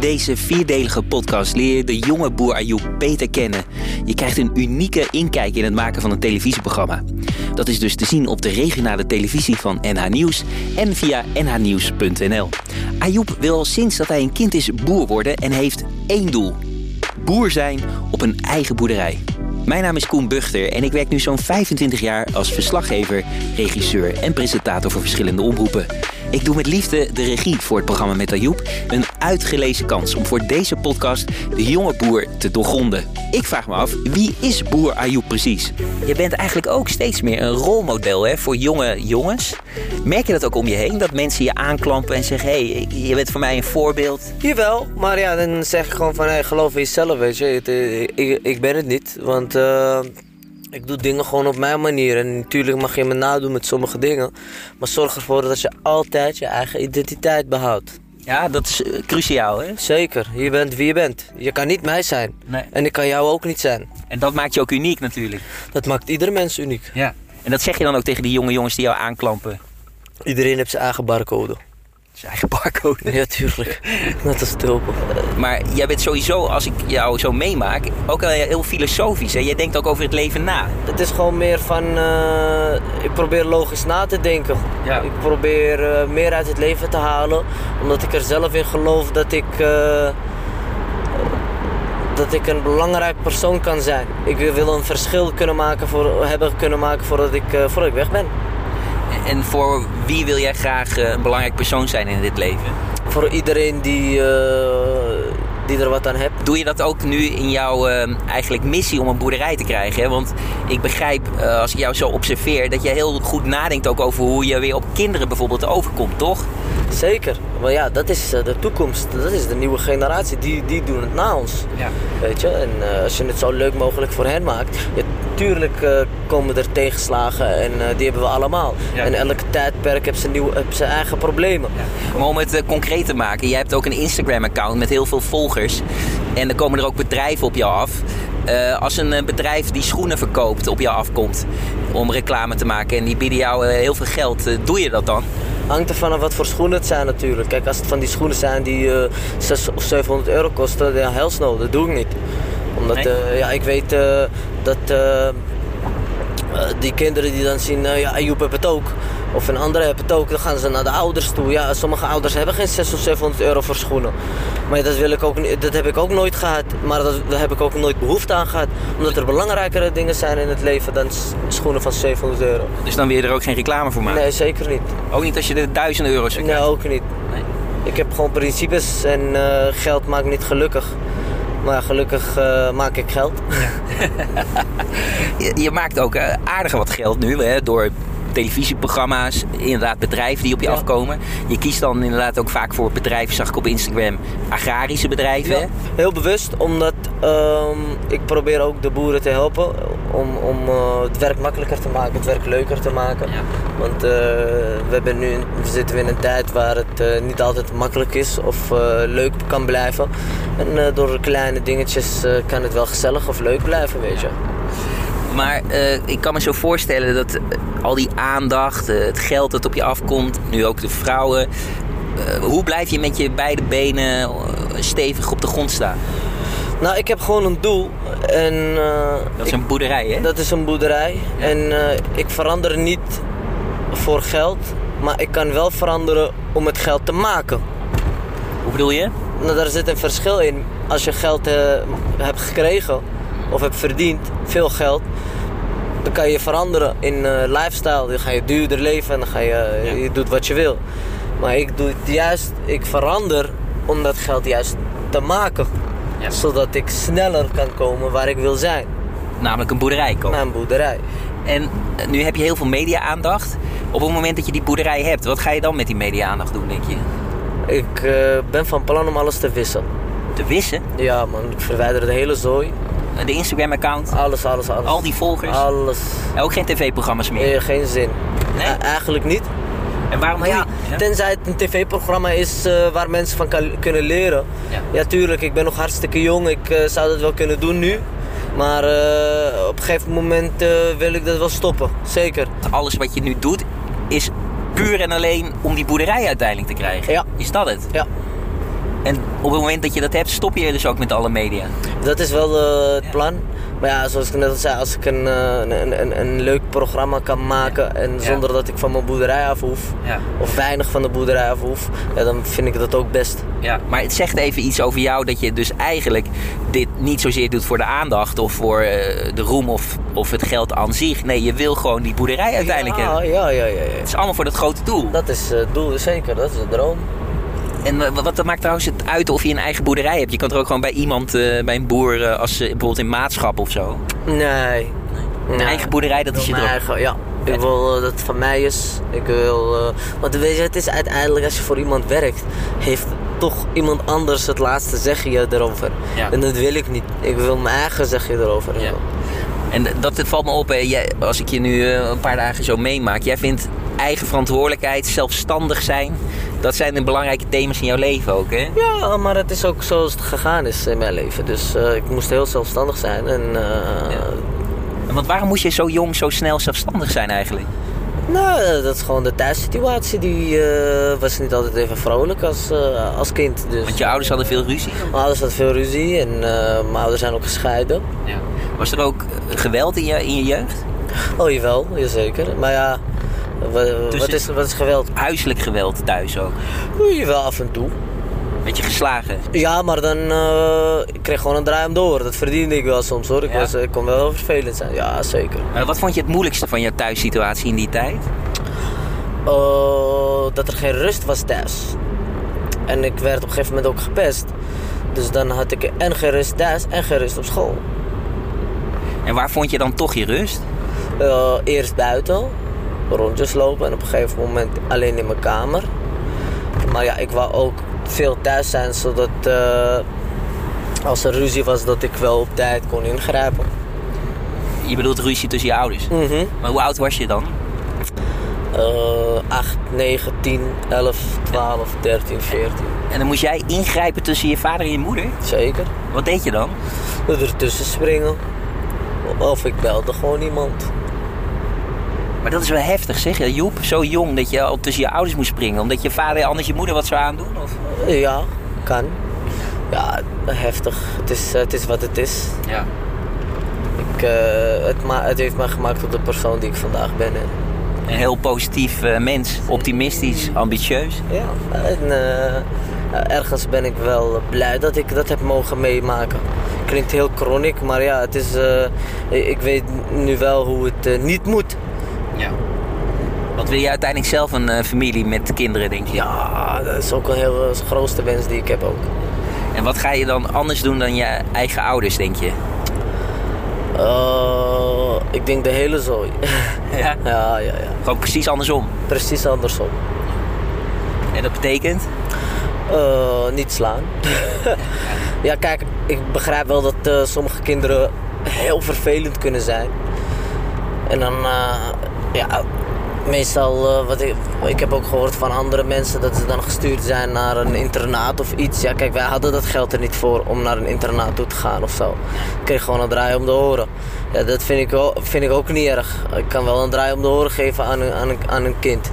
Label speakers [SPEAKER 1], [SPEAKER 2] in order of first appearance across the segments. [SPEAKER 1] deze vierdelige podcast leer je de jonge boer Ayoub beter kennen. Je krijgt een unieke inkijk in het maken van een televisieprogramma. Dat is dus te zien op de regionale televisie van NH Nieuws en via nhnieuws.nl. Ayoub wil al sinds dat hij een kind is boer worden en heeft één doel. Boer zijn op een eigen boerderij. Mijn naam is Koen Buchter en ik werk nu zo'n 25 jaar als verslaggever, regisseur en presentator voor verschillende omroepen. Ik doe met liefde de regie voor het programma met Ayoub. Een uitgelezen kans om voor deze podcast de jonge boer te doorgronden. Ik vraag me af, wie is boer Ayoub precies? Je bent eigenlijk ook steeds meer een rolmodel hè, voor jonge jongens. Merk je dat ook om je heen? Dat mensen je aanklampen en zeggen, hé, hey, je bent voor mij een voorbeeld.
[SPEAKER 2] Jawel, maar ja, dan zeg ik gewoon van hey, geloof in jezelf, weet je. Het, eh, ik, ik ben het niet, want eh, ik doe dingen gewoon op mijn manier. En natuurlijk mag je me nadoen met sommige dingen. Maar zorg ervoor dat je altijd je eigen identiteit behoudt.
[SPEAKER 1] Ja, dat is eh, cruciaal hè?
[SPEAKER 2] Zeker, je bent wie je bent. Je kan niet mij zijn.
[SPEAKER 1] Nee.
[SPEAKER 2] En ik kan jou ook niet zijn.
[SPEAKER 1] En dat maakt je ook uniek natuurlijk.
[SPEAKER 2] Dat maakt ieder mens uniek.
[SPEAKER 1] Ja. En dat zeg je dan ook tegen die jonge jongens die jou aanklampen.
[SPEAKER 2] Iedereen heeft zijn eigen barcode.
[SPEAKER 1] Zijn eigen barcode.
[SPEAKER 2] Ja, tuurlijk. Net als tulpen.
[SPEAKER 1] Maar jij bent sowieso, als ik jou zo meemaak, ook wel heel filosofisch. Hè? Jij denkt ook over het leven na.
[SPEAKER 2] Het is gewoon meer van, eh, ik probeer logisch na te denken.
[SPEAKER 1] Ja.
[SPEAKER 2] Ik probeer eh, meer uit het leven te halen, omdat ik er zelf in geloof dat ik, eh, dat ik een belangrijk persoon kan zijn. Ik wil een verschil kunnen maken voor, hebben kunnen maken voordat ik, eh, voordat ik weg ben.
[SPEAKER 1] En voor wie wil jij graag eh, een belangrijk persoon zijn in dit leven?
[SPEAKER 2] Voor iedereen die, eh, die er wat aan heeft.
[SPEAKER 1] Doe je dat ook nu in jouw eh, eigenlijk missie om een boerderij te krijgen? Hè? Want ik begrijp, eh, als ik jou zo observeer, dat je heel goed nadenkt ook over hoe je weer op kinderen bijvoorbeeld overkomt, toch?
[SPEAKER 2] Zeker. Maar ja, dat is eh, de toekomst. Dat is de nieuwe generatie. Die, die doen het na ons.
[SPEAKER 1] Ja.
[SPEAKER 2] Weet je, en eh, als je het zo leuk mogelijk voor hen maakt. Ja, tuurlijk eh, komen er tegenslagen en eh, die hebben we allemaal.
[SPEAKER 1] Ja.
[SPEAKER 2] En elk tijdperk heeft zijn, nieuwe, heeft zijn eigen problemen.
[SPEAKER 1] Maar om het eh, concreet te maken, jij hebt ook een Instagram-account met heel veel volgers. En er komen er ook bedrijven op jou af. Eh, als een eh, bedrijf die schoenen verkoopt op jou afkomt om reclame te maken en die bieden jou eh, heel veel geld, eh, doe je dat dan?
[SPEAKER 2] Hangt ervan af wat voor schoenen het zijn natuurlijk. Kijk, als het van die schoenen zijn die eh 600 of 700 euro kosten, ja, hells no, dat doe ik niet. Omdat,
[SPEAKER 1] Nee?
[SPEAKER 2] eh, ja, ik weet eh, dat eh, eh, die kinderen die dan zien, eh, ja, Ayoub heeft het ook. Of een andere heeft het ook, dan gaan ze naar de ouders toe. Ja, sommige ouders hebben geen 600 of 700 euro voor schoenen. Maar ja, dat, wil ik ook, niet- dat heb ik ook nooit gehad. Maar dat, daar heb ik ook nooit behoefte aan gehad. Omdat er belangrijkere dingen zijn in het leven dan s- schoenen van 700 euro.
[SPEAKER 1] Dus dan wil je er ook geen reclame voor maken?
[SPEAKER 2] Nee, zeker niet.
[SPEAKER 1] Ook niet als je er duizenden euro's voor
[SPEAKER 2] Nee, ook niet.
[SPEAKER 1] Nee.
[SPEAKER 2] Ik heb gewoon principes en eh, geld maakt niet gelukkig. Maar gelukkig eh, maak ik geld.
[SPEAKER 1] Je, je maakt ook eh, aardig wat geld nu hè, door televisieprogramma's, inderdaad bedrijven die op je
[SPEAKER 2] Ja.
[SPEAKER 1] afkomen. Je kiest dan inderdaad ook vaak voor bedrijven, zag ik op Instagram, agrarische bedrijven. hè?
[SPEAKER 2] Heel bewust, omdat ehm, ik probeer ook de boeren te helpen om, om eh, het werk makkelijker te maken, het werk leuker te maken.
[SPEAKER 1] Ja.
[SPEAKER 2] Want eh, we, hebben nu, we zitten in een tijd waar het eh, niet altijd makkelijk is of eh, leuk kan blijven. En eh, door kleine dingetjes eh, kan het wel gezellig of leuk blijven, weet je.
[SPEAKER 1] Maar eh, ik kan me zo voorstellen dat eh, al die aandacht, eh, het geld dat op je afkomt, nu ook de vrouwen. eh, hoe blijf je met je beide benen eh, stevig op de grond staan?
[SPEAKER 2] Nou, ik heb gewoon een doel. En, eh,
[SPEAKER 1] Dat is een boerderij, hè?
[SPEAKER 2] Dat is een boerderij. En eh, ik verander niet voor geld, maar ik kan wel veranderen om het geld te maken.
[SPEAKER 1] Hoe bedoel je?
[SPEAKER 2] Nou, daar zit een verschil in. Als je geld eh, hebt gekregen of hebt verdiend, veel geld, dan kan je veranderen in eh, lifestyle. Dan ga je duurder leven en dan ga je, eh,
[SPEAKER 1] Ja.
[SPEAKER 2] je doet wat je wil. Maar ik doe het juist, ik verander om dat geld juist te maken.
[SPEAKER 1] Ja.
[SPEAKER 2] Zodat ik sneller kan komen waar ik wil zijn.
[SPEAKER 1] Namelijk een boerderij kopen.
[SPEAKER 2] Mijn boerderij.
[SPEAKER 1] En eh, nu heb je heel veel media-aandacht. Op het moment dat je die boerderij hebt, wat ga je dan met die media-aandacht doen, denk je?
[SPEAKER 2] Ik eh, ben van plan om alles te wissen.
[SPEAKER 1] Te wissen?
[SPEAKER 2] Ja man, ik verwijder de hele zooi.
[SPEAKER 1] De Instagram-account,
[SPEAKER 2] Alles, alles, alles.
[SPEAKER 1] al die volgers.
[SPEAKER 2] Alles.
[SPEAKER 1] En ook geen tv-programma's meer.
[SPEAKER 2] Nee, geen zin.
[SPEAKER 1] Nee?
[SPEAKER 2] E- eigenlijk niet.
[SPEAKER 1] En waarom
[SPEAKER 2] Maar
[SPEAKER 1] doe
[SPEAKER 2] ja,
[SPEAKER 1] je-
[SPEAKER 2] tenzij het een tv-programma is eh, waar mensen van kan- kunnen leren.
[SPEAKER 1] Ja.
[SPEAKER 2] Ja. tuurlijk, ik ben nog hartstikke jong. Ik eh, zou dat wel kunnen doen nu. Maar eh, op een gegeven moment eh, wil ik dat wel stoppen. Zeker.
[SPEAKER 1] alles wat je nu doet is puur en alleen om die boerderij uiteindelijk te krijgen.
[SPEAKER 2] Ja.
[SPEAKER 1] Is dat het?
[SPEAKER 2] Ja.
[SPEAKER 1] En op het moment dat je dat hebt, stop je dus ook met alle media.
[SPEAKER 2] Dat is wel eh, het plan. Maar ja, zoals ik net al zei, als ik een, eh, een, een- een, een leuk programma kan maken en
[SPEAKER 1] Ja.
[SPEAKER 2] zonder dat ik van mijn boerderij af hoef,
[SPEAKER 1] Ja.
[SPEAKER 2] of weinig van de boerderij af hoef, ja, dan vind ik dat ook best.
[SPEAKER 1] Ja, maar het zegt even iets over jou dat je dus eigenlijk dit niet zozeer doet voor de aandacht of voor eh, de roem of, of het geld aan zich. Nee, je wil gewoon die boerderij uiteindelijk hebben.
[SPEAKER 2] Ja, Ah, ja, ja, ja, ja.
[SPEAKER 1] Het is allemaal voor dat grote doel.
[SPEAKER 2] Dat is eh, het doel, zeker. Dat is de droom.
[SPEAKER 1] En wa- wat maakt trouwens het uit of je een eigen boerderij hebt? Je kan er ook gewoon bij iemand, eh, bij een boer, eh, als ze bijvoorbeeld in maatschap of zo.
[SPEAKER 2] Nee.
[SPEAKER 1] Een eigen boerderij, dat is je
[SPEAKER 2] Mijn
[SPEAKER 1] droom.
[SPEAKER 2] eigen- ja. Ik wil eh, dat het van mij is. Ik wil... eh, want weet je, het is uiteindelijk als je voor iemand werkt, heeft toch iemand anders het laatste zegje erover.
[SPEAKER 1] Ja.
[SPEAKER 2] En dat wil ik niet. Ik wil mijn eigen zegje erover
[SPEAKER 1] Ja.
[SPEAKER 2] hebben.
[SPEAKER 1] En d- dat valt me op, hè. Jij, als ik je nu eh, een paar dagen zo meemaak. Jij vindt eigen verantwoordelijkheid, zelfstandig zijn, dat zijn de belangrijke thema's in jouw leven ook, hè?
[SPEAKER 2] Ja, maar het is ook zoals het gegaan is in mijn leven. Dus eh, ik moest heel zelfstandig zijn. En eh,
[SPEAKER 1] Ja. Want waarom moest je zo jong, zo snel zelfstandig zijn eigenlijk?
[SPEAKER 2] nou, eh, dat is gewoon de thuissituatie. Die eh, was niet altijd even vrolijk als, eh, als kind. Dus.
[SPEAKER 1] Want je ouders hadden veel ruzie.
[SPEAKER 2] Mijn ouders hadden veel ruzie en eh, mijn ouders zijn ook gescheiden.
[SPEAKER 1] Was er ook eh, geweld in je, in je jeugd?
[SPEAKER 2] Oh jawel, jazeker. Maar ja, wa-
[SPEAKER 1] Dus
[SPEAKER 2] wat,
[SPEAKER 1] je-
[SPEAKER 2] is, wat is geweld?
[SPEAKER 1] Huiselijk geweld thuis ook.
[SPEAKER 2] Oh, Jawel, af en toe.
[SPEAKER 1] Werd je geslagen?
[SPEAKER 2] Ja, maar dan eh, ik kreeg gewoon een draai om door. Dat verdiende ik wel soms hoor. Ik,
[SPEAKER 1] Ja?
[SPEAKER 2] was, ik kon wel vervelend zijn. Ja, zeker.
[SPEAKER 1] Eh, wat vond je het moeilijkste van jouw thuissituatie in die tijd?
[SPEAKER 2] Oh, dat er geen rust was thuis. En ik werd op een gegeven moment ook gepest. Dus dan had ik en geen rust thuis en geen rust op school.
[SPEAKER 1] En waar vond je dan toch je rust?
[SPEAKER 2] Eh, eerst buiten, rondjes lopen en op een gegeven moment alleen in mijn kamer. Maar ja, ik wou ook veel thuis zijn, zodat eh, als er ruzie was, dat ik wel op tijd kon ingrijpen.
[SPEAKER 1] Je bedoelt ruzie tussen je ouders.
[SPEAKER 2] Mhm.
[SPEAKER 1] Maar hoe oud was je dan?
[SPEAKER 2] Eh, 8, 9, 10, 11, 12, 13, 14.
[SPEAKER 1] En dan moest jij ingrijpen tussen je vader en je moeder?
[SPEAKER 2] Zeker.
[SPEAKER 1] Wat deed je dan?
[SPEAKER 2] Ertussen springen. Of ik belde gewoon iemand.
[SPEAKER 1] Maar dat is wel heftig zeg. Joep, zo jong dat je al tussen je ouders moest springen. Omdat je vader anders je moeder wat zou aandoen? Of?
[SPEAKER 2] Ja, kan. Ja, heftig. Het is, eh, het is wat het is.
[SPEAKER 1] Ja.
[SPEAKER 2] Ik, eh, het, ma- het heeft mij gemaakt tot de persoon die ik vandaag ben. En,
[SPEAKER 1] Een heel positief eh, mens. Optimistisch, ambitieus.
[SPEAKER 2] ja, en eh, ergens ben ik wel blij dat ik dat heb mogen meemaken. Klinkt heel chronic, maar ja, het is, eh, ik- ik weet nu wel hoe het eh, niet moet.
[SPEAKER 1] Ja. Want wil je uiteindelijk zelf een eh, familie met kinderen, denk je?
[SPEAKER 2] Ja, Ah, dat is ook een heel dat is de grootste wens die ik heb ook.
[SPEAKER 1] En wat ga je dan anders doen dan je eigen ouders, denk je?
[SPEAKER 2] Eh, ik denk de hele zooi.
[SPEAKER 1] Ja.
[SPEAKER 2] ja, ja, ja.
[SPEAKER 1] Gewoon precies andersom.
[SPEAKER 2] Precies andersom.
[SPEAKER 1] En dat betekent?
[SPEAKER 2] Eh, niet slaan. ja, kijk, ik begrijp wel dat eh, sommige kinderen heel vervelend kunnen zijn. En dan, eh, ja, meestal, eh, wat ik, ik heb ook gehoord van andere mensen dat ze dan gestuurd zijn naar een internaat of iets. Ja, kijk, wij hadden dat geld er niet voor om naar een internaat toe te gaan of zo. Ik kreeg gewoon een draai om de oren. Ja, dat vind ik, wel- vind ik ook niet erg. Ik kan wel een draai om de oren geven aan een, aan een, aan een kind.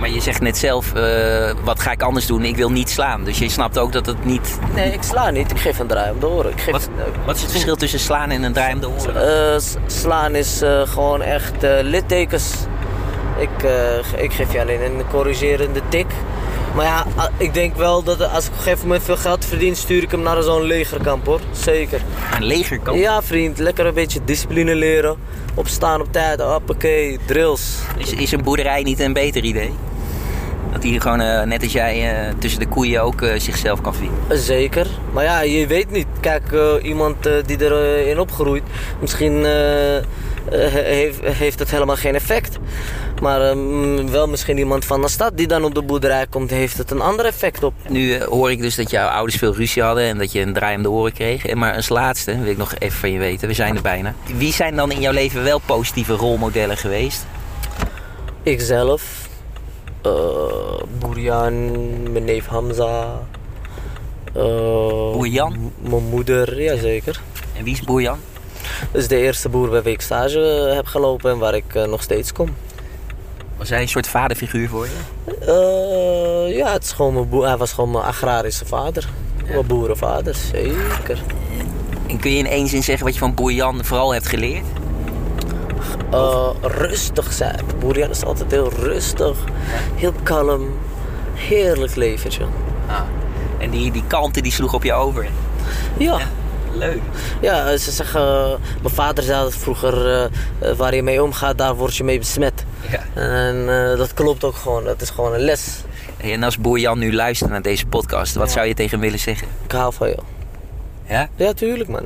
[SPEAKER 1] Maar je zegt net zelf, eh, wat ga ik anders doen? Ik wil niet slaan. Dus je snapt ook dat het niet...
[SPEAKER 2] Nee, ik sla niet. Ik geef een draai om de oren. Ik geef
[SPEAKER 1] Wat, wat is het verschil tussen slaan en een draai om de oren?
[SPEAKER 2] Eh, s- slaan is eh, gewoon echt eh, littekens. Ik, eh, ge- ik geef je alleen een corrigerende tik. Maar ja, a- ik denk wel dat als ik op een gegeven moment veel geld verdien, stuur ik hem naar zo'n legerkamp hoor. Zeker.
[SPEAKER 1] Een legerkamp?
[SPEAKER 2] Ja, vriend, lekker een beetje discipline leren. Opstaan op tijd, hoppakee, drills.
[SPEAKER 1] Is, is een boerderij niet een beter idee? Dat hij gewoon, eh, net als jij, eh, tussen de koeien ook eh, zichzelf kan vinden.
[SPEAKER 2] Eh, Zeker. Maar ja, je weet niet. Kijk, eh, iemand eh, die erin in opgroeit, misschien eh, eh, he- heeft, heeft het helemaal geen effect. Maar eh, mm, wel misschien iemand van de stad die dan op de boerderij komt, heeft het een ander effect op.
[SPEAKER 1] Nu eh, hoor ik dus dat jouw ouders veel ruzie hadden en dat je een draai om de oren kreeg. En maar als laatste wil ik nog even van je weten, we zijn er bijna. Wie zijn dan in jouw leven wel positieve rolmodellen geweest?
[SPEAKER 2] Ikzelf, eh Boerjan, mijn neef Hamza, eh,
[SPEAKER 1] Boer Jan?
[SPEAKER 2] m- mijn moeder, jazeker.
[SPEAKER 1] En wie is Boerjan?
[SPEAKER 2] Dat is de eerste boer bij wie ik stage eh, heb gelopen en waar ik eh, nog steeds kom.
[SPEAKER 1] Was hij een soort vaderfiguur voor je?
[SPEAKER 2] Eh, ja, het is gewoon mijn boer. Hij was gewoon mijn agrarische vader. Mijn boerenvaders, zeker.
[SPEAKER 1] En kun je in één zin zeggen wat je van Boerjan vooral hebt geleerd?
[SPEAKER 2] Eh, rustig zijn. Boerian is altijd heel rustig, heel kalm. Heerlijk leventje.
[SPEAKER 1] En die, die kalmte die sloeg op je over.
[SPEAKER 2] Ja,
[SPEAKER 1] Leuk.
[SPEAKER 2] ja, ze zeggen, eh, mijn vader zei dat vroeger, eh, eh, waar je mee omgaat, daar word je mee besmet.
[SPEAKER 1] Ja.
[SPEAKER 2] En eh, dat klopt ook gewoon, dat is gewoon een les.
[SPEAKER 1] En als Boerjan nu luistert naar deze podcast, wat zou je tegen hem willen zeggen?
[SPEAKER 2] Ik hou van je.
[SPEAKER 1] Ja?
[SPEAKER 2] Ja, tuurlijk man.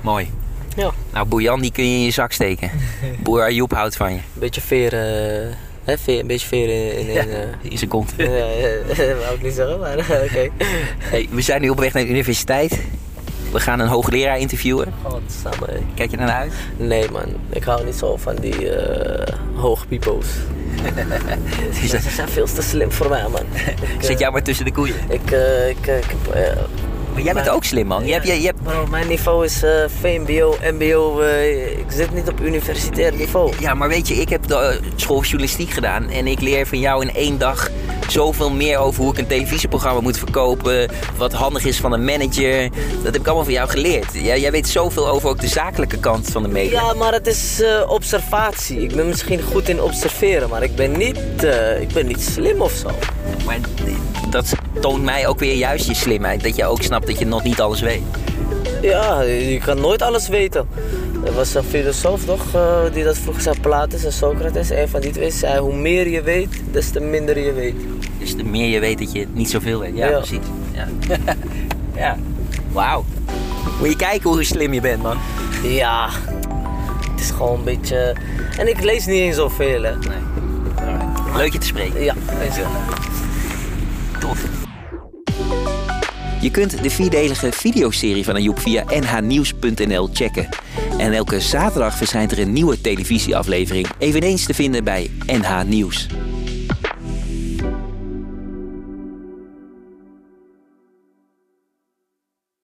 [SPEAKER 1] Mooi.
[SPEAKER 2] Ja.
[SPEAKER 1] Nou, Boerjan die kun je in je zak steken. Boer Ayoub houdt van je.
[SPEAKER 2] Een beetje veer, eh, hè, veer, een beetje veer in... in, in eh,
[SPEAKER 1] In zijn kont.
[SPEAKER 2] ja, ja, dat wou ik niet zeggen, maar oké.
[SPEAKER 1] Hey, we zijn nu op weg naar de universiteit. We gaan een hoogleraar interviewen.
[SPEAKER 2] Godsamme, hé.
[SPEAKER 1] Kijk je ernaar uit?
[SPEAKER 2] Nee man, ik hou niet zo van die eh hoge pipo's. Ze ze zijn veel te slim voor mij man. Ik,
[SPEAKER 1] Zet
[SPEAKER 2] eh,
[SPEAKER 1] jou maar tussen de koeien.
[SPEAKER 2] Ik, eh, ik, eh, ik heb, eh,
[SPEAKER 1] Maar jij bent
[SPEAKER 2] maar-
[SPEAKER 1] ook slim, man. Je hebt, je, je hebt,
[SPEAKER 2] bro, mijn niveau is eh, VMBO, MBO. eh, ik zit niet op universitair niveau.
[SPEAKER 1] ja, maar weet je, ik heb de eh, school voor journalistiek gedaan. En ik leer van jou in één dag zoveel meer over hoe ik een televisieprogramma moet verkopen. Wat handig is van een manager. Dat heb ik allemaal van jou geleerd. Jij, jij weet zoveel over ook de zakelijke kant van de media.
[SPEAKER 2] Ja, maar het is eh, observatie. Ik ben misschien goed in observeren, maar ik ben niet, eh, ik ben niet slim of zo.
[SPEAKER 1] Maar d- dat toont mij ook weer juist je slimheid. Dat je ook snapt dat je nog niet alles weet.
[SPEAKER 2] Ja, je kan nooit alles weten. Er was een filosoof toch, eh, die dat vroeg zei, Platus en Socrates. Een van die twee zei, hoe meer je weet, des te minder je weet.
[SPEAKER 1] Dus de meer je weet dat je niet zoveel weet. Ja,
[SPEAKER 2] Ja.
[SPEAKER 1] precies. Ja. ja. Wauw. Moet je kijken hoe slim je bent, man.
[SPEAKER 2] Ja, het is gewoon een beetje... En ik lees niet eens zoveel, hè.
[SPEAKER 1] Nee. Alright. Leuk je te spreken.
[SPEAKER 2] Ja, is het.
[SPEAKER 1] Tof. Je kunt de vierdelige videoserie van Ajoep via nhnieuws.nl checken. En elke zaterdag verschijnt er een nieuwe televisieaflevering, eveneens te vinden bij NH Nieuws.